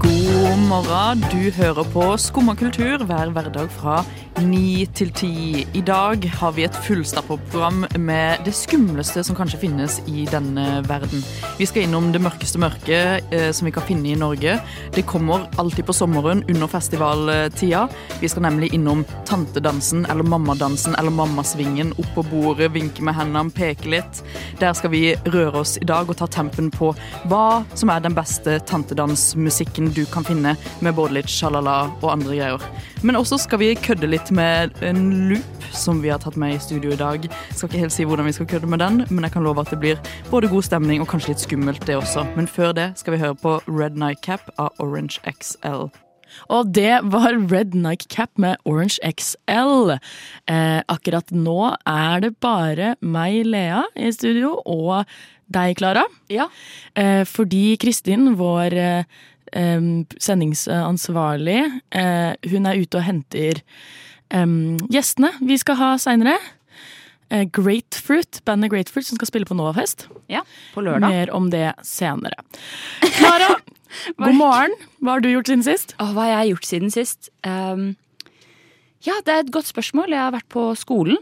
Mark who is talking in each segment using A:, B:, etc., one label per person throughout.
A: God morgen. Du hører på Skumma kultur hver hverdag fra ni til ti. I dag har vi et fullstappa program med det skumleste som kanskje finnes i denne verden. Vi skal innom det mørkeste mørket eh, som vi kan finne i Norge. Det kommer alltid på sommeren under festivaltida. Vi skal nemlig innom tantedansen eller mammadansen eller mammasvingen. Opp på bordet, vinke med hendene, peke litt. Der skal vi røre oss i dag og ta tempen på hva som er den beste tantedansmusikken du kan finne, med både litt sjalala og andre greier. Men også skal vi kødde litt med en loop som vi har tatt med i studio i dag. Skal ikke helt si hvordan vi skal kødde med den, men jeg kan love at det blir både god stemning og kanskje litt skummelt det også. Men før det skal vi høre på Red Nightcap av Orange XL.
B: Og det var Red Nike Cap med Orange XL. Eh, akkurat nå er det bare meg, Lea, i studio, og deg, Klara. Eh, fordi Kristin, vår eh, em, sendingsansvarlig, eh, hun er ute og henter em, gjestene vi skal ha seinere. Eh, Grapefruit, bandet Grapefruit, som skal spille på Novafest.
C: Ja, på lørdag.
B: Mer om det senere. Klara, god morgen. Hva har du gjort siden sist?
C: Åh, hva har jeg gjort siden sist? Ehm, ja, det er et godt spørsmål. Jeg har vært på skolen.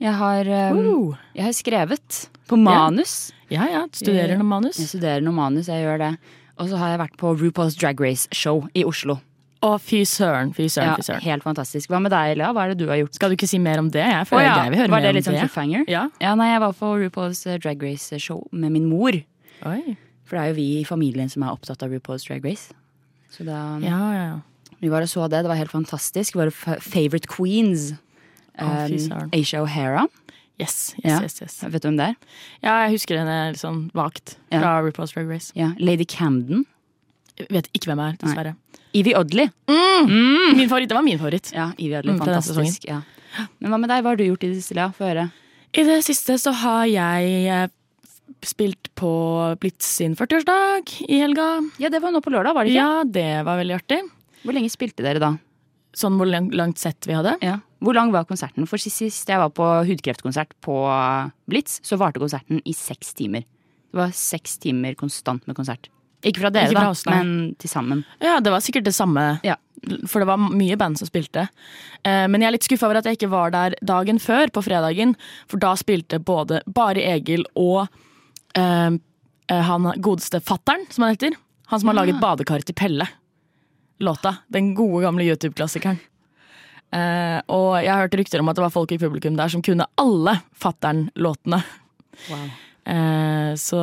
C: Jeg har, ehm,
B: Oh.
C: jeg har skrevet på manus.
B: Ja, ja. Studerer noe manus.
C: Jeg studerer noe manus, jeg gjør det. Og så har jeg vært på RuPaul's Drag Race-show i Oslo.
B: Å, fy søren, fy søren,
C: Ja,
B: fy søren.
C: helt fantastisk. Hva med deg, Lea? Hva er det du har gjort?
B: Skal du ikke si mer om det? Jeg føler
C: Åh, ja.
B: jeg vil høre
C: var det
B: mer om
C: litt sånn
B: det.
C: cliffhanger?
B: Ja.
C: ja, nei, jeg var på RuPaul's eh, Drag Race-show med min mor.
B: Oi.
C: For det er jo vi i familien som er opptatt av RuPaul's Drag Race. Så da
B: Ja, ja, ja.
C: Vi var og så det, det var helt fantastisk. Våre fa- favorite queens.
B: Å, fy
C: Um,
B: søren.
C: Aisha O'Hara.
B: Yes, yes,
C: Ja.
B: yes, yes.
C: Vet du hvem det er?
B: Ja, jeg husker henne litt sånn vagt
C: Ja.
B: fra RuPaul's Drag Race.
C: Ja. Lady Camden.
B: Jeg vet ikke hvem jeg er, dessverre.
C: Evie Oddly.
B: Min favoritt, Det var min favoritt.
C: Ja, Evie Oddly,
B: Mm, fra denne
C: fantastisk. Ja. Men hva med deg? Hva har du gjort i det stille? Få høre.
B: I det siste så har jeg eh, spilt på Blitz sin 40-årsdag i helga.
C: Ja, det var nå på lørdag, var det ikke?
B: Ja, det var veldig artig.
C: Hvor lenge spilte dere da?
B: Sånn hvor lang- langt sett vi hadde.
C: Ja. Hvor lang var konserten? For sist, sist jeg var på hudkreftkonsert på eh, Blitz, så varte konserten i seks timer. Det var seks timer konstant med konsert. Ikke fra dere,
B: Ikke fra
C: da,
B: oss, nei.
C: men til sammen.
B: Ja, det var sikkert det samme.
C: Ja.
B: For det var mye band som spilte. Eh, Men jeg er litt skuffa over at jeg ikke var der dagen før, på fredagen. For da spilte både Bare Egil og eh, eh, han godeste fattern, som han heter. Han som har laget 'Badekar til Pelle'. Låta. Den gode, gamle YouTube-klassikeren. Eh, og jeg har hørt rykter om at det var folk i publikum der som kunne alle fattern-låtene. Eh, så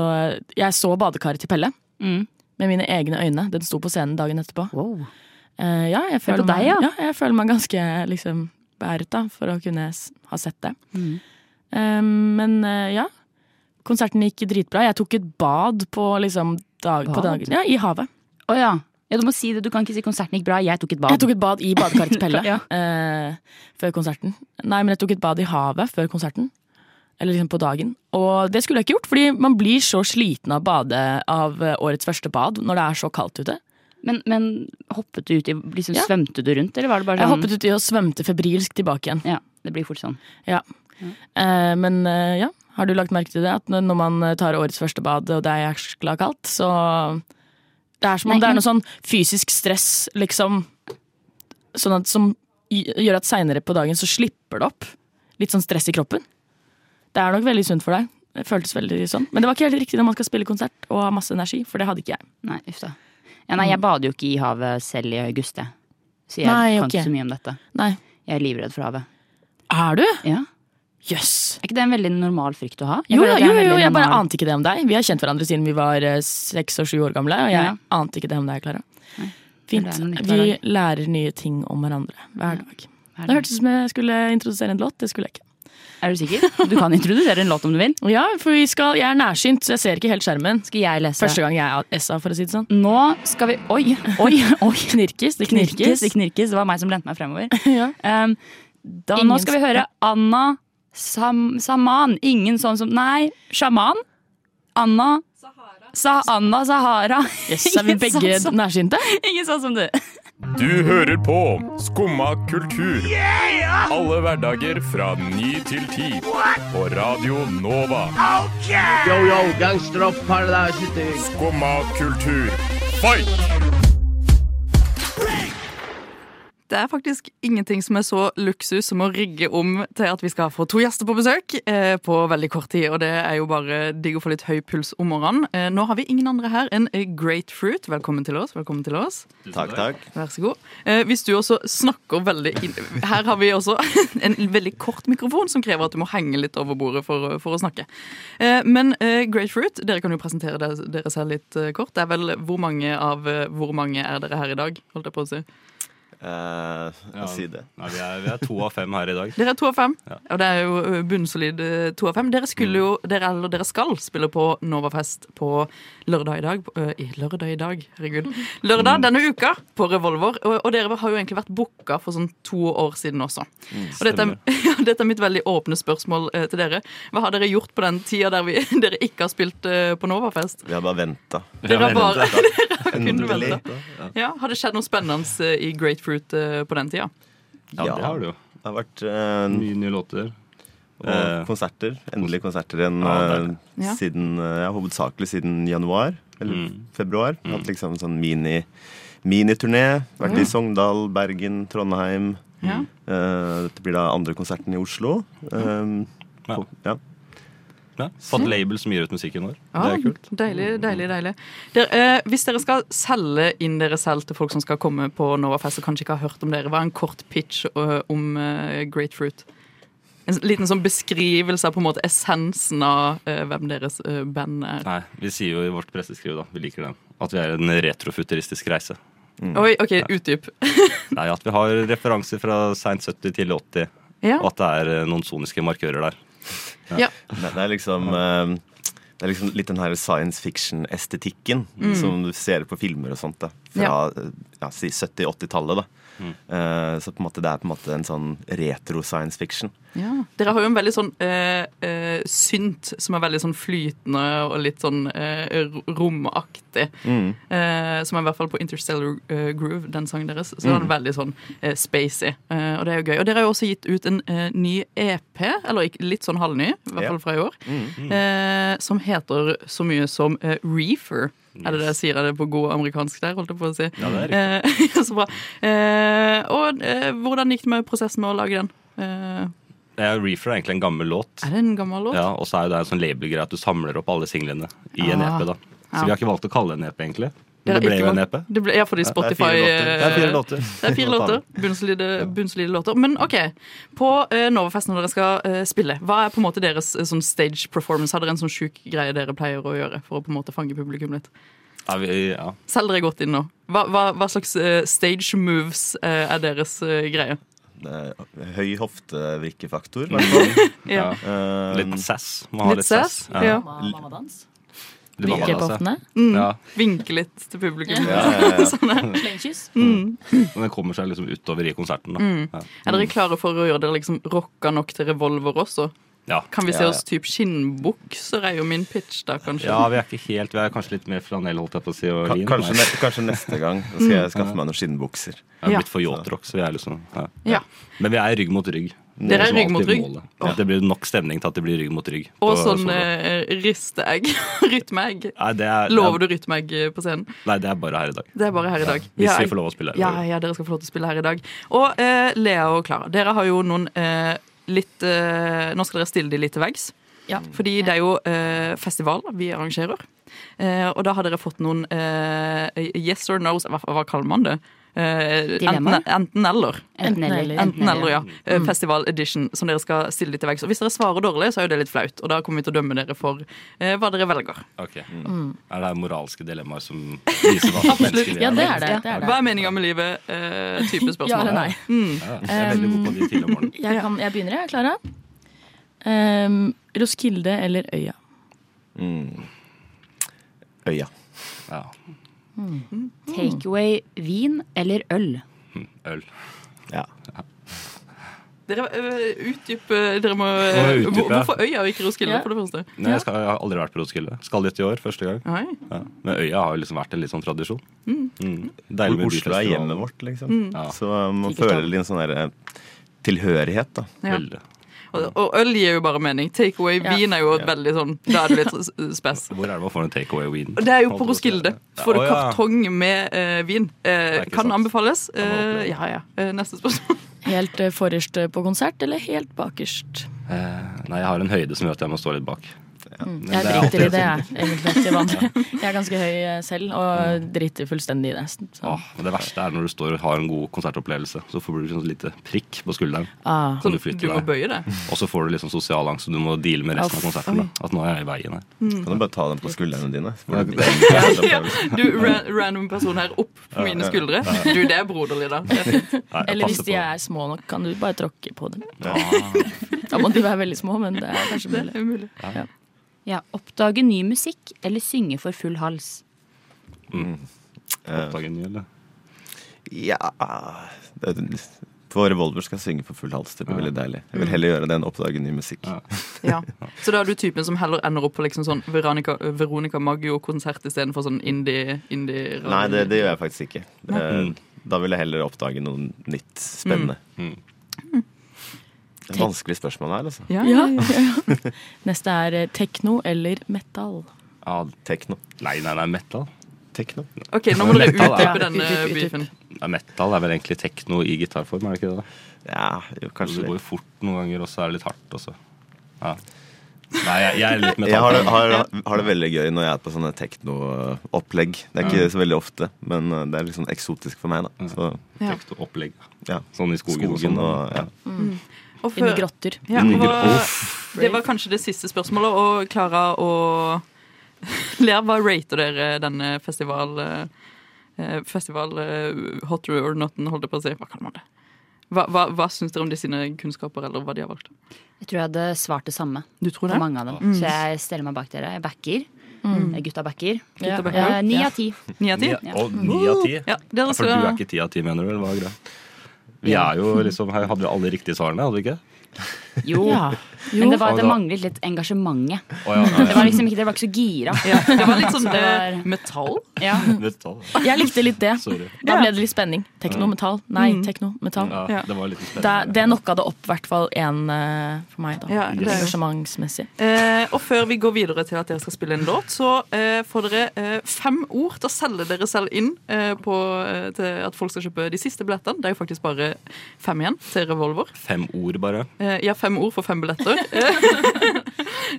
B: jeg så 'Badekaret til Pelle'
C: Mm.
B: med mine egne øyne. Den sto på scenen dagen etterpå.
C: Wow.
B: Eh, ja, jeg føler,
C: på deg,
B: meg,
C: ja.
B: ja, jeg føler meg ganske liksom, beæret da, for å kunne s- ha sett det.
C: Mhm.
B: Eh, men eh, ja, konserten gikk dritbra. Jeg tok et bad på, liksom, dag, på
C: Bad?
B: dagen. Ja, I havet.
C: Å ja. ja. Du må si det. Du kan ikke si konserten gikk bra. Jeg tok et bad.
B: Jeg tok et bad i badekaretpelle
C: Ja.
B: eh, før konserten. Nei, men jeg tok et bad i havet før konserten. Eller liksom på dagen. Og det skulle jeg ikke gjort, fordi man blir så sliten av, å bade, av eh, årets første bad når det er så kaldt ute.
C: Men, men hoppet du ut i liksom,
B: Ja.
C: Svømte du rundt, eller var det bare
B: Jeg
C: sånn?
B: hoppet uti og svømte febrilsk tilbake igjen.
C: Ja, det blir fort sånn.
B: Ja. Eh, men eh, ja, har du lagt merke til det? At når når man eh, tar årets første bad, og det er jæskla kaldt, så Det er som om
C: Nei,
B: det er
C: men-
B: noe sånn fysisk stress, liksom, sånn at, som gj- gjør at seinere på dagen så slipper det opp. Litt sånn stress i kroppen. Det er nok veldig sunt for deg. Det føltes veldig sånn. Men det var ikke helt riktig når man skal spille konsert og ha masse energi, for det hadde ikke jeg.
C: Nei, uff da. Ja,
B: Mm.
C: nei, jeg bader jo ikke i havet selv i august, jeg. Så jeg
B: Nei,
C: kan
B: ok.
C: ikke så mye om dette.
B: Nei.
C: Jeg er livredd for havet.
B: Er du?
C: Ja.
B: Jøss! Yes.
C: Er ikke det en veldig normal frykt å ha? Jeg
B: Jo,
C: føler
B: jo,
C: at det er
B: jo,
C: en veldig
B: jeg bare
C: normal-
B: ante ikke det om deg. Vi har kjent hverandre siden vi var eh, seks og sju år gamle, og jeg
C: Ja.
B: ante ikke det om deg, Klara. Fint.
C: lærer noe nytt hver
B: Vi lærer nye ting om hverandre hver dag.
C: Hver
B: Det
C: dag.
B: hørtes ut som jeg skulle introdusere en låt. Det skulle jeg ikke.
C: Er du sikker? Du kan introdusere en låt om du vil.
B: Ja, for vi skal, Jeg er nærsynt, så jeg ser ikke helt skjermen.
C: Skal jeg lese?
B: Første gang jeg er SA, for å si det sånn.
C: Nå skal vi Oi, oi, oi.
B: Knirkes, det knirkes.
C: Det knirkes. Det var meg som lente meg fremover.
B: Ja.
C: Um, da, nå
B: Ingen
C: skal vi høre Anna Sam Saman. Ingen sånn som Nei, sjaman. Anna Sa Anna Sahara.
B: Yes, er vi
C: Ingen sånn
B: begge
C: som-
B: nærsynte?
C: Ingen sånn som du.
D: Du hører på Skumma kultur. Alle hverdager fra ny til ti. På Radio Nova.
E: Yo, yo, gangsterrapp, paradiseting.
D: Skumma kultur. Fight!
A: Det er faktisk ingenting som er så luksus som å rigge om til at vi skal få to gjester på besøk eh, på veldig kort tid, og det er jo bare digg å få litt høy puls om morgenen. Eh, nå har vi ingen andre her enn eh, Grapefruit. Velkommen til oss. velkommen til oss.
F: Takk, takk.
A: Vær så god. Eh, hvis du også snakker veldig inn... Her har vi også en veldig kort mikrofon som krever at du må henge litt over bordet for, å- for å snakke. Eh, men eh, Grapefruit, dere kan jo presentere dere, dere selv litt eh, kort. Det er vel hvor mange av eh, hvor mange er dere her i dag, holdt jeg på å si.
F: Eh, Si det.
G: Nei, vi, er, vi er to av fem her i dag.
A: Dere er to av fem, og det er jo ø, bunnsolid ø, to av fem. Dere skulle jo, dere, eller dere skal spille på Novafest på lørdag i dag. på- ø, i lørdag i dag, herregud. Lørdag denne uka på Revolver, og, og dere har jo egentlig vært booka for sånn to år siden også. og dette, er- ja, dette er mitt veldig åpne spørsmål ø, til dere. Hva har dere gjort på den tida der vi, dere ikke har spilt ø, på Novafest?
F: Vi har bare venta.
A: Dere har bare kun
F: Endelig.
A: ventet. Ja, har det skjedd noe spennende ø, i Grapefruit ø, på den tida?
G: Ja, det har du jo.
F: Det har vært eh,
G: Mye nye låter.
F: og konserter. Endelig konserter igjen
G: Ja, det er det.
F: eh,
A: Ja.
F: siden eh, ja, Hovedsakelig siden januar. Eller
G: Mm.
F: februar. Hatt liksom sånn mini miniturné. Vært i Sogndal, Bergen, Trondheim.
A: Ja.
F: Eh, dette blir da andre konserten i Oslo. Eh,
G: Ja.
F: på- ja.
G: Ja, fått label som gir ut musikken vår.
A: Ja,
G: Det er kult.
A: Deilig, deilig, deilig. Dere, eh, hvis dere skal selge inn dere selv til folk som skal komme på Novafest og kanskje ikke har hørt om dere, hva er en kort pitch ø, om eh, Grapefruit? En s- liten sånn beskrivelse av på en måte essensen av eh, hvem deres eh, band er.
G: Nei, vi sier jo i vårt presseskriv, da, vi liker den, at vi er en retrofuturistisk reise.
A: Oi, OK, utdyp.
G: Nei, at vi har referanser fra seint 70 til 80,
A: Ja.
G: og at det er eh, noen soniske markører der.
A: ja.
F: Det, det er liksom eh, Det er liksom litt den her science fiction-estetikken som du ser på filmer og sånt. da Fra
A: Ja.
F: eh, Mm. ja, si 70-80-tallet, da. Eh, så på en måte det er på en måte en sånn retro-science fiction.
A: Ja. Dere har jo en veldig sånn eh, eh, synt som er veldig sånn flytende og litt sånn eh, ro- romaktig. Eh, som er i hvert fall på Interstellar eh, Groove, den sangen deres. Så den er veldig sånn eh, spacey. Eh, og det er jo gøy. Og dere har jo også gitt ut en eh, ny EP, eller ikke- litt sånn halvny, i hvert
F: Ja.
A: fall fra i år, eh, som heter så mye som eh, Reefer. Er det det jeg sier er det på god amerikansk der, holdt jeg på å si?
G: Ja, det er
A: Eh, så bra. Eh, og eh, hvordan gikk det med prosessen med å lage den? Eh,
G: Ja, Reefer er egentlig en gammel låt.
A: er det en gammel låt?
G: Ja, Og så er jo det en sånn labelgreie at du samler opp alle singlene i en
A: Ah.
G: EP. da Så
A: Ja.
G: vi har ikke valgt å kalle det en EP, egentlig. Men
A: Dere
G: det ble
A: ikke
G: jo en E
A: valgt-
G: EP.
A: Det ble, ja, fordi Spotify eh,
F: låter. Det er fire låter.
A: Det er fire låter. Bunnsolide, bunnsolide låter. Men OK. På eh, Novafest når dere skal eh, spille, hva er på en måte deres eh, sånn stage performance? Har dere en sånn sjuk greie dere pleier å gjøre for å på en måte fange publikum litt?
G: Ja, vi, ja.
A: Selg dere godt inn nå. Hva, hva, hva slags eh, stage moves eh, er deres eh, greie?
F: Det er høy hoftevirkefaktor. i hvert fall.
A: Ja.
F: Eh,
G: Litt sass. Må ha litt, sass.
A: Ja. Mm.
C: Mamadans?
G: Litt mamma,
B: Virker på
G: altså.
B: hoftene.
G: Ja.
A: Vinke litt til publikum. Sånn, eh,
F: ja, ja, ja.
B: Mm.
C: Slengkyss?
G: Og den kommer seg liksom utover i konserten. da ja.
A: Mm. Er dere klare for å gjøre dere liksom rocka nok til revolver også?
G: Ja.
A: Kan vi se
F: Ja, ja.
A: oss typ skinnbukser, er jo min pitch da, kanskje?
G: ja, vi er ikke helt Vi er kanskje litt mer flanell, holdt jeg på å si. Og
F: Ka-
G: lin.
F: Kanskje,
G: Nei,
F: ne kanskje neste gang så skal jeg skaffe meg noen skinnbukser.
G: Vi
A: Ja.
G: er blitt for yacht-rock, så vi er liksom ja.
A: Ja.
G: Men vi er rygg mot rygg. Det
A: Dere er
G: liksom
A: rygg mot
G: alltid
A: rygg.
G: målet. At det blir nok stemning til at det blir rygg mot rygg.
A: Og
G: på
A: sånn
G: solo.
A: eh, risteegg. Rytmeegg.
G: Nei, det er,
A: Lover du rytmeegg eh, på scenen?
G: Nei, det er bare her i dag.
A: Det er bare her i dag.
G: Hvis
A: Ja,
G: vi får lov å spille her. i
A: Ja,
G: dag.
A: ja, dere skal få lov til å spille her i dag. Og eh, Lea og Klara, dere har jo noen eh, litt eh, Nå skal dere stille de litt til veggs.
B: Ja.
A: Fordi det er jo eh, festival vi arrangerer. Eh, og da har dere fått noen eh, yes or no's Hva, hva kaller man det? Eh, enten,
C: Dilemmaer?
A: enten eller.
C: Enten eller.
A: Enten eller, ja.
B: Mm.
A: Eh, Festival edition, som dere skal stille litt til veggs. Og hvis dere svarer dårlig, så er jo det litt flaut, og da kommer vi til å dømme dere for eh, hva dere velger.
G: Ok.
A: Mm.
G: Er det her moralske dilemmaer som viser hva slags mennesker vi
B: Ja,
G: er?
B: det
G: da?
B: er det. det, er det.
A: Hva er meninga med livet? Eh, type spørsmål.
B: Ja eller nei?
G: Ja, ja. Jeg er veldig god på de tidlig om morgenen.
B: Jeg, kan, jeg begynner, jeg. Klara. Um, Roskilde eller Øya?
F: Øya.
A: Um,
G: Ja.
C: Takeaway vin eller øl?
G: Øl.
F: Ja.
A: Dere øh, utdyper Dere må eh,
G: Må jeg utdype,
A: hvor,
G: ja?
A: Hvorfor øya og ikke Roskilde,
B: Ja.
A: for det første?
G: Nei, jeg, skal, jeg har aldri vært på Roskilde. Skal dit i år, første gang.
A: Nei.
G: Ja. Men øya har jo liksom vært en litt sånn tradisjon. Mm. Deilig med
H: Oslo er
G: byfestival.
H: hjemmet vårt,
F: Mm.
H: liksom.
G: Ja.
H: Så eh, man
B: Sikkert,
H: føler litt sånn
F: eh,
H: derre tilhørighet, da.
A: Ja.
G: Veldig.
A: Og, og øl gir jo bare mening. Take away
B: Ja.
A: vin er jo veldig sånn Da er det litt s- s- spes.
G: Hvor er det man får en takeaway-win?
A: Og Det er jo på Roskilde. Får du
G: Å, ja.
A: kartong med eh, vin. Eh,
G: er ikke
A: kan
G: sant.
A: anbefales.
G: må oppleve.
A: Eh, ja, ja. Eh, neste spørsmål.
B: Helt eh, forrest eh, på konsert, eller helt bakerst?
G: Eh, nei, jeg har en høyde som gjør at jeg må stå litt bak.
B: Jeg
G: det er
B: driter i
G: alltid
B: det, jeg. Egentlig, til vanlig. Jeg er ganske høy eh, selv og driter fullstendig i det. Så.
G: Åh, men det verste er når du står og har en god konsertopplevelse, så får du liksom et lite prikk på skulderen.
B: Ah.
G: Kan
A: Sånn,
G: du flytte
A: du må
G: deg?
A: bøye det.
G: Og så får du liksom sosial angst, og du må deale med resten av
B: Uff,
G: konserten. Da. At nå er jeg i veien her.
H: Kan du bare ta den på skuldrene dine?
A: Ja, du, ra random person her opp på mine skuldre. Du, det er broderlig, da. Det er fint.
G: Nei, jeg
B: Eller hvis
G: passer
B: de
G: på.
B: er små nok, kan du bare tråkke på dem. Da må de være veldig små, men det er kanskje mulig.
A: Det er mulig.
C: Ja, Oppdage ny musikk eller synge for full hals.
G: Oppdager en ny, eller?
H: Ja det, På Revolver skal jeg synge for full hals. Det blir veldig deilig. Jeg vil heller gjøre det enn oppdage ny musikk.
G: Ja.
A: Ja. Så da er du typen som heller ender opp på liksom sånn Veronica, Veronica Maggio-konsert istedenfor sånn indie, indie
H: Nei, det, det gjør jeg faktisk ikke. Det, Da vil jeg heller oppdage noe nytt spennende.
G: Mm.
H: Det er vanskelig spørsmål her, altså.
A: Ja,
B: Ja, ja, ja. Neste er eh, tekno eller metal.
G: Ja,
H: Tekno.
G: nei, nei, nei, metal.
H: Tekno.
A: OK, nå må dere
G: Metal, da.
A: utdype denne
B: Utdyp, utdyp.
A: beefen.
G: Nei, metal er vel egentlig tekno i gitarform, er det ikke det? da?
H: Ja, jo,
G: Det
H: kanskje
G: går
H: det.
G: jo fort noen ganger, og så er det litt hardt også. Ja. Nei, jeg, jeg er litt
H: Jeg har det,
G: metallfan.
H: har, har det veldig gøy når jeg er på sånne tekno-opplegg. Det er ikke så veldig ofte, men eh, det er litt sånn eksotisk for meg, da. Så
A: Ja.
G: Tekno-opplegg.
H: ja.
G: Sånn i skogen, og
H: Skogen
G: sånn.
H: og ja.
A: Og
B: Inni
A: før-
B: grotter.
A: Ja,
G: Inni
A: det var-
G: gro-
A: det var kanskje det siste spørsmålet, og Klara og Lea, hva rater dere denne festival... eh, Festival eh, Hot or Notten, holdt jeg på å si. Hva kaller man det? Hva, hva, hva syns dere om de sine kunnskaper, eller hva de har valgt?
C: Jeg tror jeg hadde svart det samme
A: Du tror
C: på mange av dem. Så jeg steller meg bak dere. Jeg backer. Eh, Gutta backer.
B: Ja,
A: backer.
C: Eh, Ni
B: ja.
C: av ti.
A: Ni av ti?
G: Ja, og ni av ti.
A: Ja, dere
G: For du er
A: skal
G: ikke ti av ti, mener du? Eller hva er greia? Vi er jo liksom, her hadde vi alle riktige svarene, hadde vi ikke?
C: Jo.
B: Ja.
C: Men det, var,
G: Og
C: det
G: da-
C: manglet litt engasjementet.
G: Å ja, nei,
C: Det var liksom ikke, dere var ikke så gira.
A: Ja, det var litt sånn
C: det var-
A: eh, metall.
C: Ja.
G: metall.
B: Jeg likte litt det.
G: Sorry.
B: Da ble det litt spenning. Tekno, metall. Nei,
A: Mm.
B: tekno, metall.
G: Ja, det var litt
B: Det,
G: spennende.
B: det knocka det opp i hvert fall én for meg, da.
A: Ja, det er jo-
B: Engasjementsmessig.
A: Eh, og før vi går videre til at dere skal spille en låt, så eh, får dere eh, fem ord til å selge dere selv inn eh, på, eh, til at folk skal kjøpe de siste billettene. Det er jo faktisk bare fem igjen til Revolver.
G: Fem ord, bare.
A: Eh, ja, fem ord for fem billetter.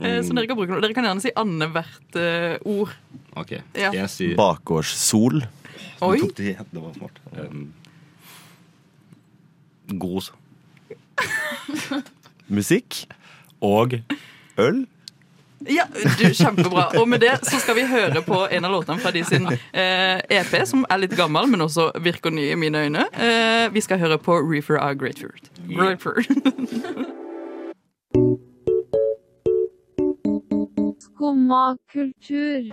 A: eh, så dere kan bruke noe. Dere kan gjerne si annethvert eh, ord.
G: Ok,
A: Ja.
G: jeg sier
H: Bakgårdssol.
A: Oi!
G: Tok de- Det var smart. Um, god
H: Musikk.
G: og
H: Øl.
A: Ja, du, Kjempebra. Og med det så skal vi høre på en av låtene fra de sin eh, EP, som er litt gammel, men også virker ny i mine øyne. Eh, vi skal høre på Reefer av Grapefruit. Grapefruit.
I: Skumma kultur.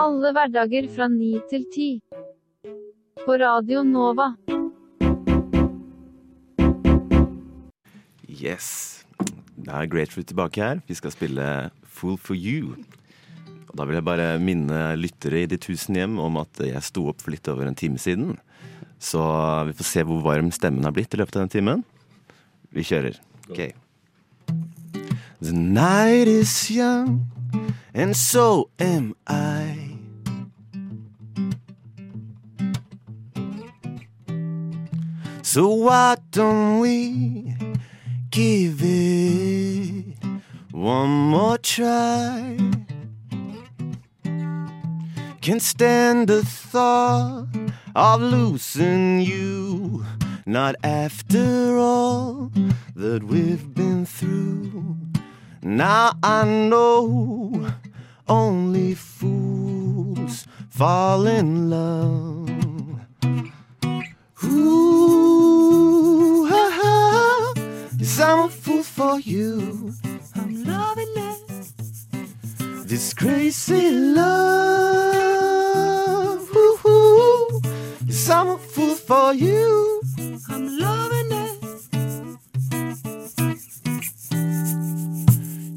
I: Alle hverdager fra ni til ti. På Radio Nova.
H: Yes. Da er Grapefruit tilbake her. Vi skal spille Fool for you. Og da vil jeg bare minne lyttere i de tusen hjem om at jeg sto opp for litt over en time siden. Så vi får se hvor varm stemmen har blitt i løpet av den timen. Vi kjører. Ok. The night is young, and so am I. So why don't we give it one more try. Can't stand the thought of losing you. Not after all that we've been through. Now I know only fools fall in love. Ooh, ha, ha, yes, I'm a fool for you. I'm loving it. This crazy love. Ooh, ooh, yes, I'm a fool for you.
J: I'm loving it.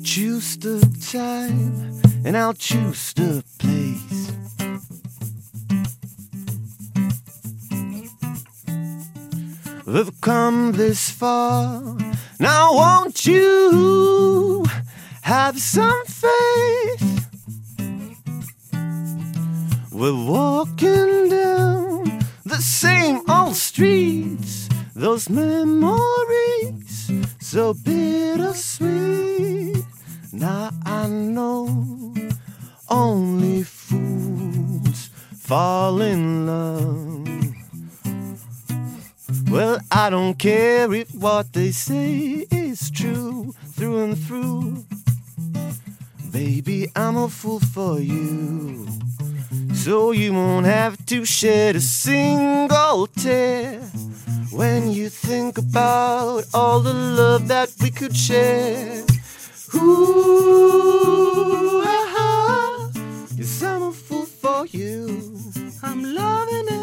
H: Choose the time, and I'll choose the place. We've come this far, now won't you have some faith? We're walking down the same old streets, those memories so bittersweet. Now I know only fools fall in love. Well, I don't care if what they say is true through and through. Baby, I'm a fool for you. So you won't have to shed a single tear when you think about all the love that we could share. Ooh, ah, ah, yes, I'm a fool for you.
J: I'm loving it.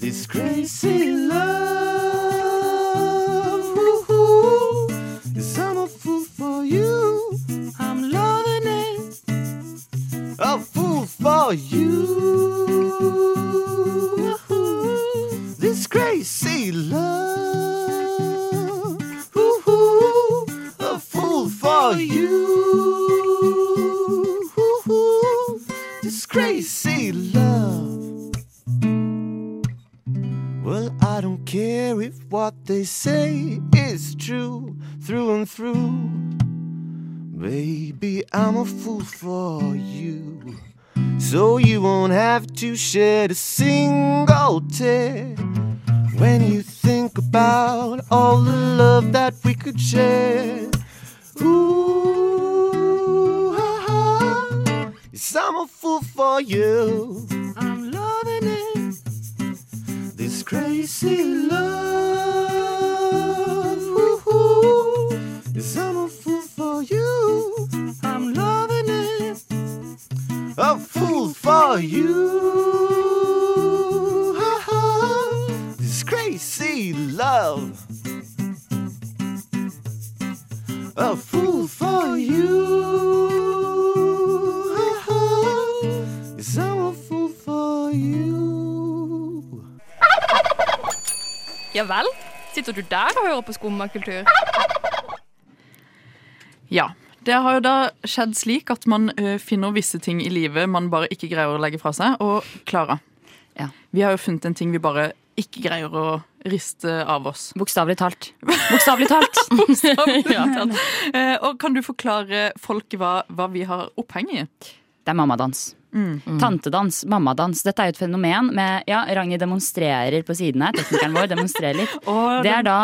H: This crazy love. Ooh, yes, I'm a fool for you.
J: I'm loving it.
H: A fool for you. This crazy love. Ooh, a fool for you. This crazy love. Well, I don't care if what they say is true through and through. Baby, I'm a fool for you. So you won't have to shed a single tear when you think about all the love that we could share. Ooh, ah, ah. yes, I'm a fool for you.
J: I'm loving it.
H: This crazy love. Ooh, yes, I'm a fool for you.
J: I'm loving it.
H: A fool for you. Ah, ah. This crazy love. A fool for you. Ah, ah. Yes, I'm a fool for you.
K: Ja vel? Sitter du der og hører på skummakultur?
A: Ja. Det har jo da skjedd slik at man ø, finner visse ting i livet man bare ikke greier å legge fra seg. Og Klara, vi har jo funnet en ting vi bare ikke greier å riste av oss.
C: Bokstavelig talt. Bokstavelig talt.
A: Ja. Eh, og kan du forklare folk hva, hva vi har oppheng i?
C: Det er mammadans.
A: Mm.
C: Tantedans, mammadans. Dette er jo et fenomen med Ja, Ragnhild demonstrerer på siden her. Teknikeren vår demonstrerer litt. det er da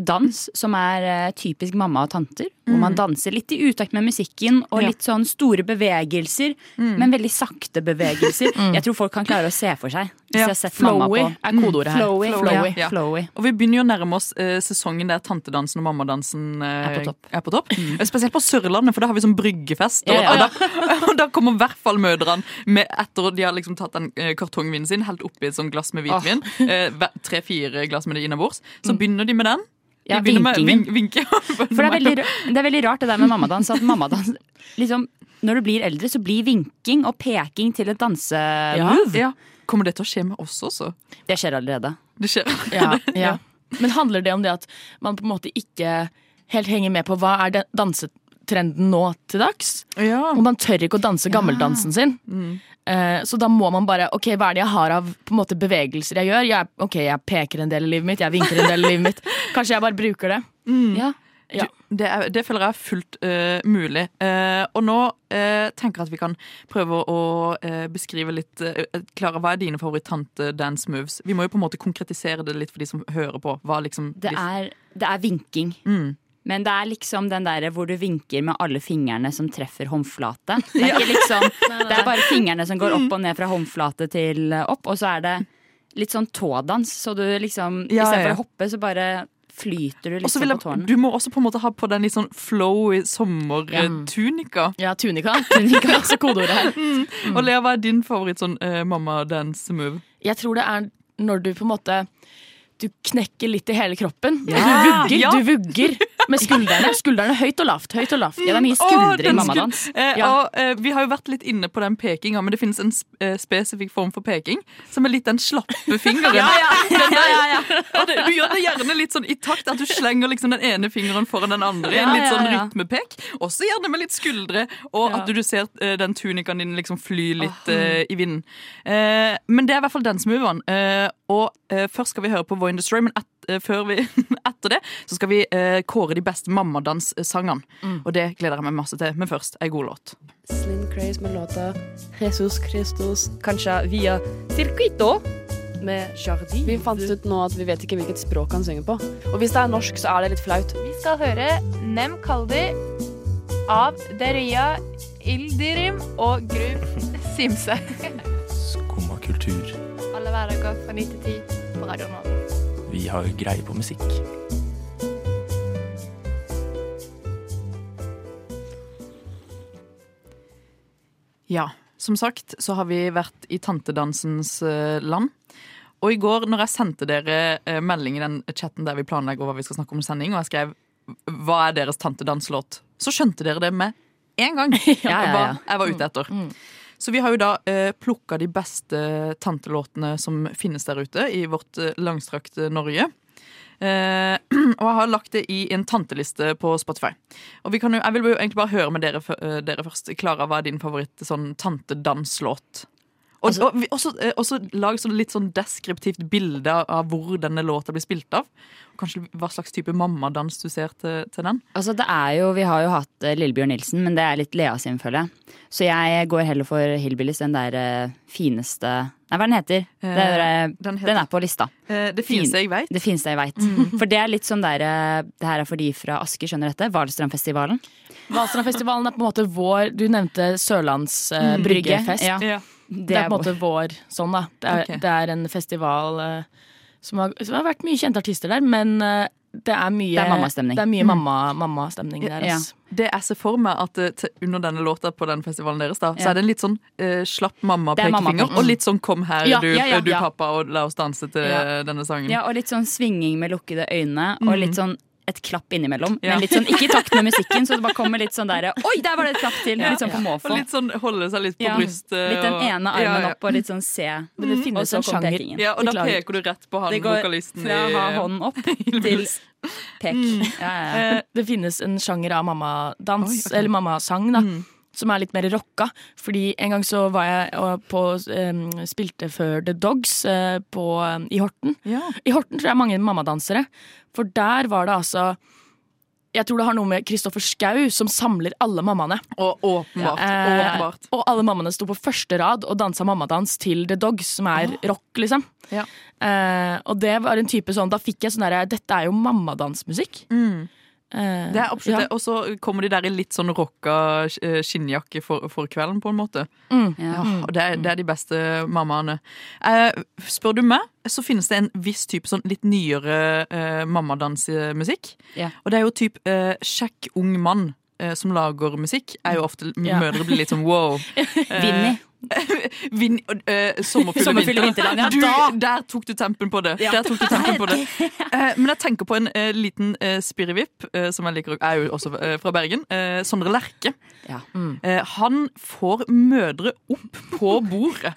C: dans som er eh, typisk mamma og tanter. Hvor man danser litt i utakt med musikken og
A: Mm. Ja.
C: litt sånn store bevegelser.
A: Mm.
C: Men veldig sakte bevegelser. Jeg tror folk kan klare å se for seg. Hvis
A: Ja,
C: jeg har sett mamma
A: Flowy
C: på Mm.
A: er kodeordet her.
C: Flowy, flowy,
A: ja.
C: flowy.
A: Og vi begynner jo å nærme oss eh, sesongen der tantedansen og mammadansen eh,
C: Er på topp. Mm.
A: er på topp. Eh, Spesielt på Sørlandet, for da har vi sånn bryggefest. Og,
C: Ja,
A: Og,
C: ja.
A: da, og da kommer i hvert fall mødrene med, etter at de har liksom tatt den eh, kartongvinen sin, helt oppi et sånt glass med
C: Åh.
A: hvitvin, eh, hver- tre-fire glass med det innabords, så
C: Mm.
A: begynner de med den. De
C: Ja,
A: begynner med
C: vinkingen.
A: vin- vinke.
C: For det er, veldig, ra- det er veldig rart det der med mammadans. At mammadans liksom, Når du blir eldre, så blir vinking og peking til et dansemove.
A: Ja, Kommer det til å skje med oss også?
C: Det skjer allerede.
A: Det skjer.
B: Ja, ja. Men handler det om det at man på en måte ikke helt henger med på hva er den dansetrenden nå til dags? Og man tør ikke å danse gammeldansen sin.
A: Mm.
B: Eh, Så da må man bare Ok, hva er det jeg har av på en måte, bevegelser jeg gjør? Jeg, ok, jeg peker en del i livet mitt, jeg vinker en del i livet mitt. Kanskje jeg bare bruker det.
A: Mm.
C: Ja.
A: Du, det, er, det føler jeg er fullt eh, mulig. Eh, og nå eh, tenker jeg at vi kan prøve å eh, beskrive litt eh, Klara, hva er dine favoritt-tante-dance moves? Vi må jo på en måte konkretisere det litt for de som hører på. Hva liksom
C: Det er, det er vinking.
A: Mm.
C: Men det er liksom den der hvor du vinker med alle fingrene som treffer håndflate. Det er, ikke liksom, det er bare fingrene som går
A: Mm.
C: opp og ned fra håndflate til eh, opp. Og så er det litt sånn tådans, så du liksom
A: Ja,
C: istedenfor
A: ja.
C: å hoppe, så bare flyter du
A: Og så
C: liksom
A: vil
C: på
A: jeg,
C: tårene.
A: Du må også på en måte ha på den litt sånn flowy sommertunika.
B: Ja, tunika. Tunika er også kodeordet her.
A: Og Lea, hva er din favoritt sånn eh, mamma-dance-move?
B: Jeg tror det er når du på en måte du knekker litt i hele kroppen.
C: Ja.
B: Du vugger
C: Ja.
B: du vugger med skuldrene. Skuldrene høyt og lavt. høyt og lavt. Ja,
C: Mm.
B: det er mye skuldre i mammadans.
A: Eh,
B: Ja.
A: og, eh, vi har jo vært litt inne på den pekinga, men det finnes en sp- eh, spesifikk form for peking som er litt den slappe fingeren.
J: Ja, ja.
A: Den der-
J: Ja, ja,
A: Og det, du gjør det gjerne litt sånn i takt at du slenger liksom den ene fingeren foran den andre. i
J: Ja,
A: En litt sånn
J: ja, ja.
A: rytmepek. Også gjerne med litt skuldre, og
J: Ja.
A: at du ser eh, den tunikaen din liksom fly litt eh, i vinden. Eh, men det er i hvert fall dansemoveren. Uh, og eh, først skal vi høre på Voy in the Stray, men et, eh, før vi, etter det så skal vi eh, kåre de beste mammadans-sangene. Og det gleder jeg meg masse til. Men først ei god låt.
L: Slim Craze med låta Jesus Christus, kanskje via Circuito med Jardin. Vi fant ut nå at vi vet ikke hvilket språk han synger på. Og hvis det er norsk, så er det litt flaut.
M: Vi skal høre Nem Kaldi av Deria Ildirim og Grub Simse.
N: Skumma kultur.
M: Alle hverdager fra 9 til 10 på Radio Nova.
N: Vi har greie på musikk.
A: Ja, som sagt så har vi vært i tantedansens eh, land. Og i går når jeg sendte dere eh, melding i den chatten der vi planlegger hva vi skal snakke om i sending, og jeg skrev hva er deres tantedanslåt, så skjønte dere det med en gang.
C: ja, ja. Mm,
A: Hva jeg var ute etter. Så vi har jo da eh, plukka de beste tantelåtene som finnes der ute i vårt eh, langstrakte Norge. Eh, og jeg har lagt det i en tanteliste på Spotify. Og vi kan jo, jeg vil jo egentlig bare høre med dere, fø- eh, dere først. Klara, hva er din favoritt sånn tantedanslåt? Og,
C: Altså-
A: og, vi- også, eh, også lag sånn litt sånn deskriptivt bilde av hvor denne låta blir spilt av. Kanskje hva slags type mammadans du ser til, til den.
C: Altså det er jo, Vi har jo hatt eh, Lillebjørn Nilsen, men det er litt Lea sin, føler jeg. Så jeg går heller for Hillbillies, den der eh, fineste Nei, hva er den heter?
A: Eh,
C: det er, eh,
A: den heter-
C: den er på lista.
A: Eh, det fineste jeg Mm. veit.
C: Det fineste jeg vet. For det er litt sånn der eh, Det her er for de fra Asker, skjønner dette? Valstrandfestivalen.
B: Valstrandfestivalen er på en måte vår Du nevnte Sørlands eh,
C: Mm.
B: bryggefest.
C: Brygge, ja.
B: Det er på en måte vår sånn, da. Det er,
C: Ok.
B: det er en festival eh, som, har, som har vært mye kjente artister der, men eh, det er mye
C: Det er mammastemning.
B: Det er mye
C: Mm.
B: mamma, mammastemning der.
A: Ja.
B: ass.
A: Det jeg ser for meg at eh, til, under denne låta på den festivalen deres, da,
B: Ja.
A: så er det en litt sånn eh, slapp
C: Det er mamma-
A: mamma-pekefinger, og litt sånn 'kom her,
C: Ja,
A: du,
C: ja, ja,
A: du
C: ja.
A: pappa, og la oss danse til eh,
C: Ja.
A: denne sangen'.
C: Ja, og litt sånn svinging med lukkede øyne,
A: Mm.
C: og litt sånn et klapp innimellom.
A: Ja.
C: Men litt sånn, ikke i takt med musikken, så det bare kommer litt sånn derre Oi, der var det et klapp til!
A: Ja.
C: Litt sånn på måfå.
A: Og litt sånn holde seg litt på
C: Ja.
A: brystet.
C: Litt den
A: og-
C: ene armen
A: Ja, ja.
C: opp og litt sånn se.
A: Men det finnes
C: Og så
A: en
C: kom
A: sjanger.
C: pekingen.
A: Ja, og da
C: Beklager.
A: peker du rett på han,
C: Det går
A: vokalisten
C: Fra
A: i- Mm.
C: å ha hånden opp til
A: Lillebjørns.
C: pek. Ja, ja, ja.
B: Eh, Det finnes en sjanger av mammadans,
C: Oi, ok.
B: eller mammasang, da.
A: Mm.
B: Som er litt mer rocka. Fordi en gang så var jeg og på eh, Spilte for The Dogs eh, på, i Horten. I Horten tror jeg er mange mammadansere. For der var det altså jeg tror det har noe med Kristoffer Schau, som samler alle mammaene. Eh,
A: Og åpenbart,
C: eh,
A: åpenbart.
B: Og alle mammaene sto på første rad og dansa mammadans til The Dogs, som er rock, liksom.
A: Ja.
B: Eh, og det var en type sånn, da fikk jeg sånn derre Dette er jo mammadansmusikk.
A: Mm.
B: Eh,
A: Det er absolutt
B: ja.
A: det. Og så kommer de der i litt sånn rocka eh, skinnjakke for, for kvelden, på en måte.
B: Mm.
A: Ja,
B: Mm.
A: og det er, det er de beste mammaene. Eh, spør du meg, så finnes det en viss type sånn litt nyere eh, mammadansmusikk.
C: Ja.
A: Og det er jo typ eh, sjekk ung mann eh, som lager musikk. Er jo ofte
C: Mm. Ja.
A: Mødre blir litt sånn wow. eh,
C: Vinni.
A: Vin, eh, sommerfugl og
C: Sommerfugl og vinterland, ja. Da-
A: Du, der tok du tempen på det. Der tok du tempen på det. Eh, men jeg tenker på en eh, liten eh, spirrevipp, eh, som jeg liker å- er jo også eh, fra Bergen. Eh, Sondre Lerche. Eh, han får mødre opp på bordet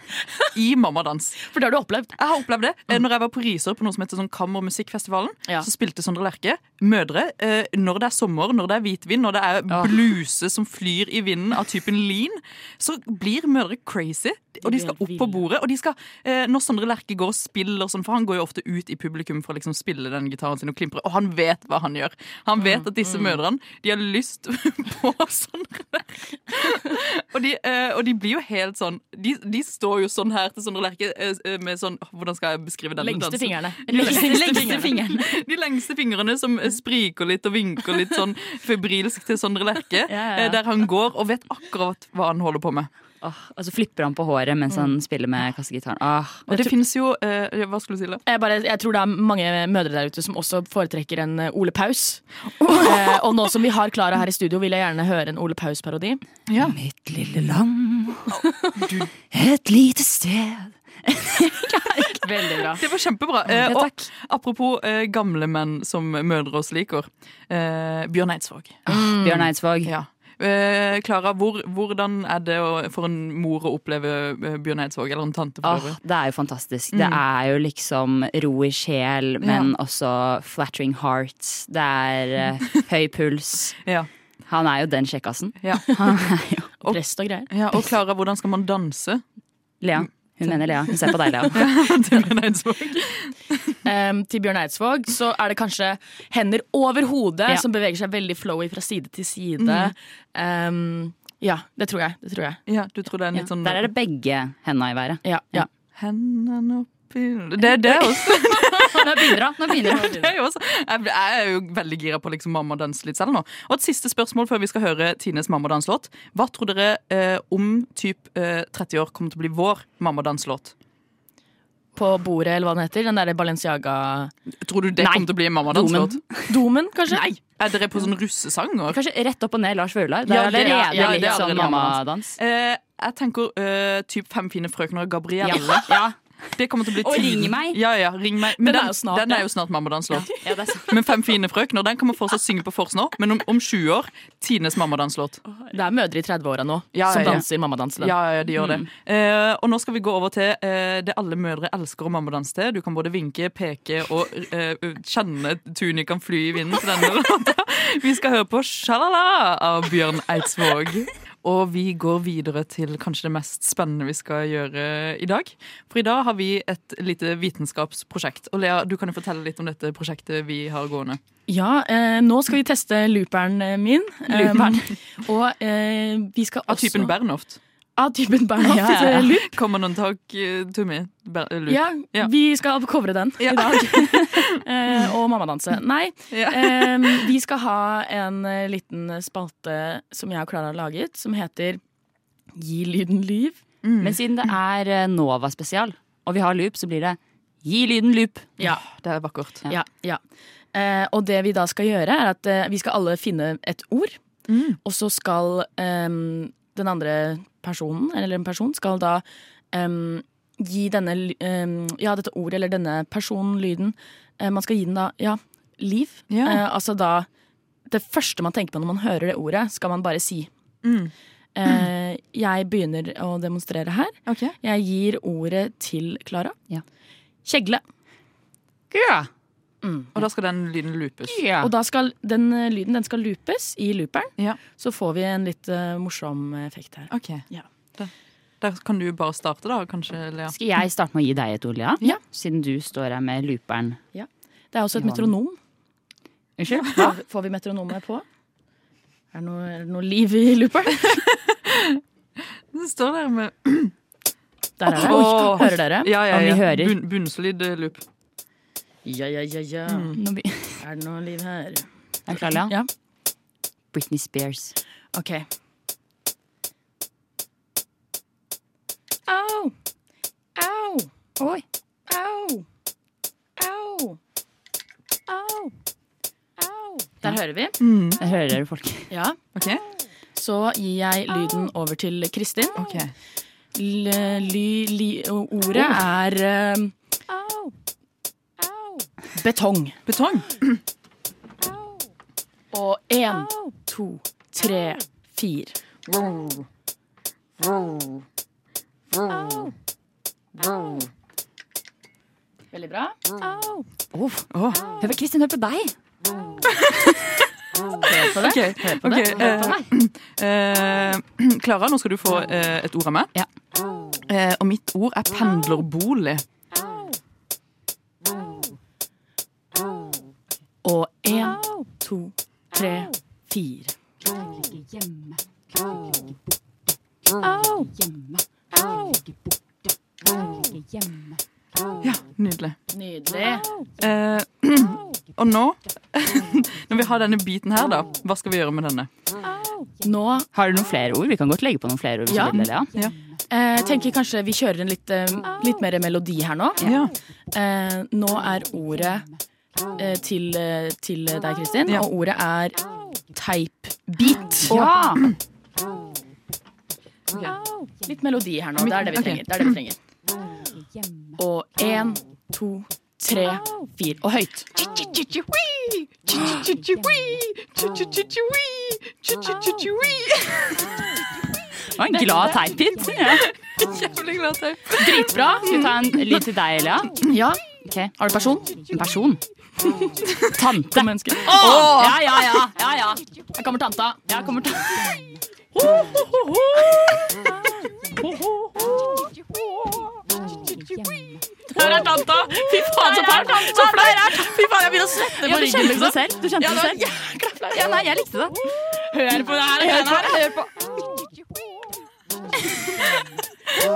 A: i mammadans.
B: For det har du opplevd?
A: Jeg har opplevd det. Eh, Når jeg var på Risør på noe som heter sånn Kammermusikkfestivalen,
B: Ja.
A: så spilte Sondre Lerche mødre eh, når det er sommer, når det er hvitvin, når det er bluse som flyr i vinden av typen lin, så blir mødre crazy. Og de skal opp på bordet. Og de skal, eh, når Sondre Lerche går og spiller sånn, for han går jo ofte ut i publikum for å liksom spille den gitaren sin og klimpre, og han vet hva han gjør. Han vet at disse mødrene, de har lyst på sånn Sondre og de, eh, og de blir jo helt sånn De, de står jo sånn her til Sondre Lerche eh, med sånn åh, Hvordan skal jeg beskrive denne
B: Lengste
A: dansen?
B: fingrene.
A: De lengste,
B: Lengste
A: fingrene. De lengste fingrene som eh, spriker litt og vinker litt sånn febrilsk til Sondre Lerche.
C: ja, ja.
A: eh, Der han går og vet akkurat hva han holder på med.
C: Og så flipper han på håret mens han spiller med kassegitaren. Ah.
A: Mm. Og det finnes jo eh, Hva skulle du si, Lea?
B: Jeg, bare, jeg tror det er mange mødre der ute som også foretrekker en eh, Ole Paus. Eh, og nå som vi har Klara her i studio, vil jeg gjerne høre en Ole Paus-parodi.
C: Mitt lille land, et lite sted Veldig bra.
A: Det var kjempebra. Eh,
C: Ja,
A: og apropos eh, gamle menn som mødre oss liker. Eh, Bjørn Eidsvåg.
C: Bjørn Eidsvåg.
A: Ja. Eh, Klara, hvor, hvordan er det å, for en mor å oppleve eh, Bjørn Eidsvåg, eller en tante for
C: Åh,
A: øvrig?
C: det er jo fantastisk.
A: Mm.
C: Det er jo liksom ro i sjel, men
A: Ja.
C: også flattering hearts. Det er eh, høy puls. Han er jo den kjekkasen.
A: Ja.
C: Han er jo
A: Og-
C: prest og greier.
A: Ja, og Klara, hvordan skal man danse?
C: Lea. Hun mener Lea. Hun ser på deg, Lea.
B: Em, Eh, til Bjørn Eidsvåg så er det kanskje hender over hodet
C: Ja.
B: som beveger seg veldig flowy fra side til side.
C: Mhm.
B: Em, ja, det tror jeg. Det tror jeg.
A: Ja, du tror det er
B: litt sånn
C: Der er det begge henda i været.
B: Ja, ja.
A: Hendene oppi Det er det også.
C: nå begynner hun. Nå begynner hun.
A: Det er jo også. Jeg jeg er jo veldig gira på liksom mamma danse litt selv nå. Og et siste spørsmål før vi skal høre Tines mamma danse-låt. Hva tror dere eh, om typ eh, 30 år kommer til å bli vår mamma danse-låt?
B: På bordet, eller hva den heter. Den derre Balenciaga
A: Tror du det kommer til å bli en mamma danse-låt?
B: Domen, kanskje?
A: Nei. Er dere på sånn russesanger?
C: Kanskje rett opp og ned Lars Vaular. Det er allerede litt sånn mammadans.
A: Eh, jeg tenker eh, typ Fem fine frøkner og Gabrielle.
C: Ja. Ja.
A: Det kommer til å bli
C: Og
A: tiden.
C: Ring meg.
A: Ja, ja, ring meg.
C: Den er jo snart,
A: den
C: ja.
A: er jo snart mammadanslåt.
C: Ja, det er sant.
A: Men Fem fine frøkner den kommer fortsatt synge på Fors nå, men om, om 20 år Tines mammadanslåt.
B: Det er mødre i 30-åra nå
A: Ja,
B: som
A: ja, ja.
B: danser mammadansen.
A: Ja, ja, de gjør det. Eh, og nå skal vi gå over til eh, det alle mødre elsker å mammadanse til. Du kan både vinke, peke og eh, kjenne tunikaen fly i vinden til denne låta. Vi skal høre på 'Sjalala' av Bjørn Eidsvåg. Og vi går videre til kanskje det mest spennende vi skal gjøre i dag. For i dag har vi et lite vitenskapsprosjekt. Og Lea, du kan jo fortelle litt om dette prosjektet vi har gående.
B: Ja, eh, nå skal vi teste looperen eh, min.
A: Looperen.
B: Eh, og eh, vi skal
A: Av
B: også
A: typen Bernhoft.
B: Av typen Bernhoft. eh, loop.
A: Kommer noen tak eh, to me? Ber- eh, loop.
B: Ja,
A: Ja.
B: vi skal covre den i dag. eh, og mammadanse. Nei,
A: Ja.
B: eh, vi skal ha en eh, liten spalte som jeg og Klara har laget, som heter Gi lyden liv.
C: Men siden det er eh, Nova-spesial, og vi har loop, så blir det Gi lyden loop.
B: Ja.
A: Det er vakkert.
B: Ja, ja. Eh, og det vi da skal gjøre, er at eh, vi skal alle finne et ord.
A: Mm.
B: Og så skal em, den andre personen, eller en person, skal da em, gi denne ly- em, Ja, dette ordet eller denne personen lyden. Eh, man skal gi den da ja, liv.
A: Ja.
B: Eh, altså da Det første man tenker på når man hører det ordet, skal man bare si.
A: Mm.
B: Eh, jeg begynner å demonstrere her. Jeg gir ordet til Klara. Kjegle.
A: Og da skal den lyden loopes.
B: Og da skal den eh, lyden den skal loopes i looperen. Så får vi en litt eh, morsom effekt her.
A: Ok. Da, da kan du bare starte, da, kanskje, Lea.
C: Skal jeg starte med å gi deg et ord, Lea? Siden du står her med looperen.
B: Ja. Det er også et
C: Johan.
B: metronom.
C: Unnskyld?
B: Får- Får vi metronomet på? Er det noe, er det noe liv i looperen?
A: Den står der med
B: Der er det.
A: Åh.
B: Hører dere?
A: Ja, ja, ja.
B: Om vi hører.
A: Bunn, bunnsolid eh, loop.
B: Ja, ja, ja, ja.
C: Nå be-
B: Er det noe liv her?
C: Er du klar, Lea?
B: Ja.
C: Britney Spears.
B: OK. Au! Au!
C: Oi.
B: Au! Au! Au! Au! Der hører vi.
C: Jeg hører dere, folk.
B: Ja. Så gir jeg lyden
A: Ah.
B: over til Kristin. L ly li og ordet
A: Oh.
B: er eh, betong.
A: Betong.
B: Og én, to, tre, fire. Veldig bra.
C: Oh. Hør på Kristin, hør på deg!
B: Hør på det.
A: Ok,
B: Hør på
A: ok,
B: det. Hør på
A: eh,
B: meg.
A: eh, Klara, nå skal du få eh, et ord av meg. Eh, og mitt ord er pendlerbolig.
B: Og én, to, tre, fire.
A: Ja, nydelig.
B: Nydelig.
A: Eh, og nå, når vi har denne biten her, da, hva skal vi gjøre med denne?
B: Nå
C: Har du noen flere ord? Vi kan godt legge på noen flere ord. hvis
B: Ja.
C: du vil, Lea.
B: eh, tenker jeg kanskje vi kjører en litt, eh, litt mer melodi her nå. Eh, nå er ordet eh, til, eh, til deg, Kristin,
A: Ja.
B: og ordet er teipbit.
C: Ja.
B: Litt melodi her nå. Det er det vi
A: Ok.
B: trenger. Det er det vi trenger. Og én, to, tre, fire. Og høyt.
C: Det var en glad teipid. Ja.
K: Jævlig glad teip.
C: Dritbra. Skal vi ta en lyd til deg, Elia?
B: Ja.
C: Har du person? En person? Tante.
B: Åh!
C: Ja, ja, ja, ja, ja.
B: Her kommer tanta.
C: Ja, kommer ta
B: Der er tanta! Fy faen, så fælt! Så flaut! Fy faen, jeg begynner å svette
C: Ja,
B: på
C: du
B: ryggen.
C: kjente det
B: liksom.
C: selv. Du kjente
B: Ja,
C: det
B: var
C: selv.
B: jækla flaut.
C: Ja, nei, jeg likte det.
B: Hør på det her.
C: Hør på,
B: hør på.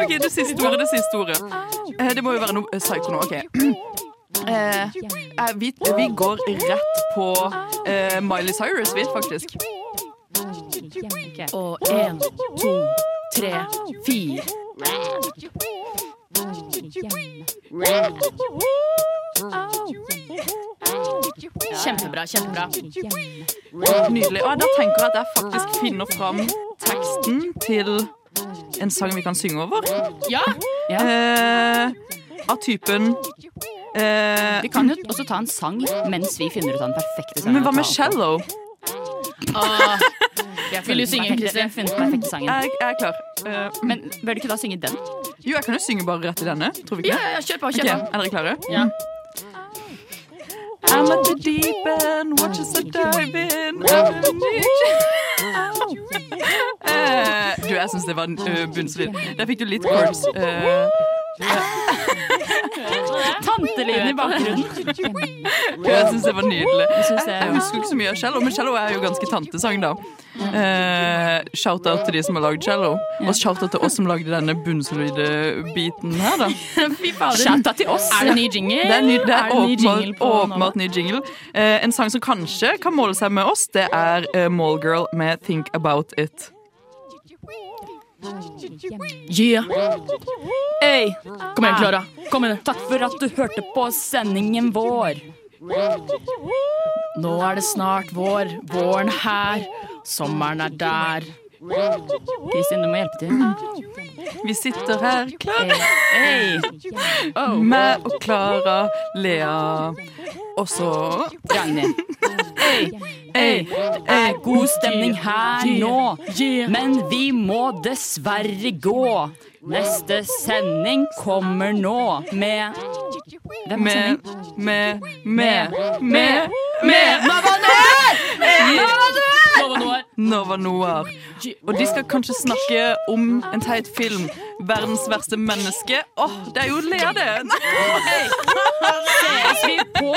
A: OK, det siste ordet. Det siste ordet. Eh, Det må jo være noe eh, psycho nå. OK. Eh, eh, vi, vi går rett på eh, Miley Cyrus, vi, faktisk.
B: Og én, to, tre, fire. Kjempebra, kjempebra.
A: Nydelig. Og da tenker jeg at jeg faktisk finner fram teksten til en sang vi kan synge over.
B: Ja.
A: Eh, av typen eh,
C: Vi kan jo også ta en sang mens vi finner ut av den perfekte sangen.
A: Men hva med Shallow?
C: Vil du synge, Kristin? Jeg har funnet den perfekte sangen.
A: Jeg, jeg er klar. Eh,
C: Men bør du ikke da synge den?
A: Jo, jeg kan jo synge bare rett i denne. Tror vi ikke
C: Ja,
A: det?
C: ja, ja, kjør på, kjør
A: Ok,
C: på.
A: Er dere klare? Mm.
C: Ja.
A: I'm at the deep end, watch us dive in. Eh, du, jeg syns det var en ø, bunnsolid. Der fikk du litt chords. eh,
C: Tantelyden i bakgrunnen.
A: jeg syns det var nydelig.
C: Jeg
A: Jeg,
C: synes det er-
A: jeg husker ikke så mye av Shallow, men Shallow er jo ganske tantesang, da. Eh, shout-out til de som har lagd Shallow, og shout-out til oss som lagde denne bunnsolide biten her, da.
C: Fy fader.
A: Shout-out
C: til oss. Er det ny jingle?
A: Det er, ny, det er,
C: Er det ny jingle
A: åpenbart,
C: på Nova?
A: åpenbart ny jingle. Eh, en sang som kanskje kan måle seg med oss, det er eh, Mallgirl med 'Think About It'.
B: Yeah.
C: Hey.
B: Kom igjen,
C: Ah.
B: Klara.
C: Kom igjen. Takk for at du hørte på sendingen vår.
B: Nå er det snart vår. Våren her. Sommeren er der.
C: Kristin, du må hjelpe til.
A: Vi sitter her klare
C: Hey.
A: Meg og Klara, Lea og så
C: Ragnhild. Hey. Det er god stemning her nå, men vi må dessverre gå. Neste sending kommer nå med Hvem er
A: Med,
C: sending?
A: med, med, med,
C: med Nova Noir!
B: Nova Noir!
A: Nova Noir. Og de skal kanskje snakke om en teit film. 'Verdens verste menneske'. Åh, det er jo Lea, det!
C: Ses vi på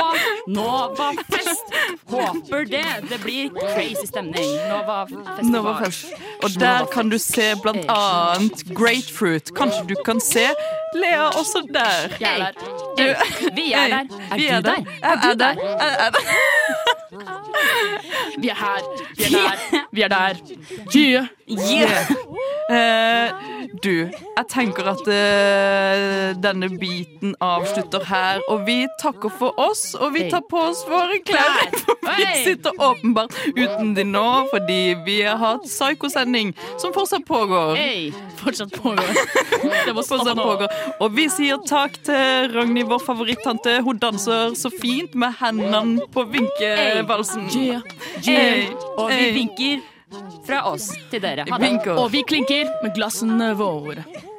C: Novafest? Håper det. Det blir crazy stemning. Novafest.
A: Novafest. Og der kan du se blant annet Grapefruit. Kanskje du kan se Lea også der.
C: Jeg er der.
A: Du-
C: Vi er der. Er
A: Vi
C: du der?
A: Jeg er der. Jeg er der.
B: Vi er her. Vi er der. Vi er der. Yeah.
A: Yeah. Eh, du, jeg tenker at eh, denne biten avslutter her. Og vi takker for oss, og vi tar på oss våre klær. For vi sitter åpenbart uten de nå fordi vi har hatt psykosending som fortsatt pågår.
B: Hey. Fortsatt pågår. Det må stoppe
A: Fortsatt
B: nå.
A: pågår. Og vi sier takk til Ragnhild, vår favorittante. Hun danser så fint med hendene på vinkevalsen.
B: Yeah.
A: Hey.
B: Yeah.
C: Og vi
A: Hey.
C: vinker fra oss til dere. Ha det.
B: Og vi klinker med glassene våre.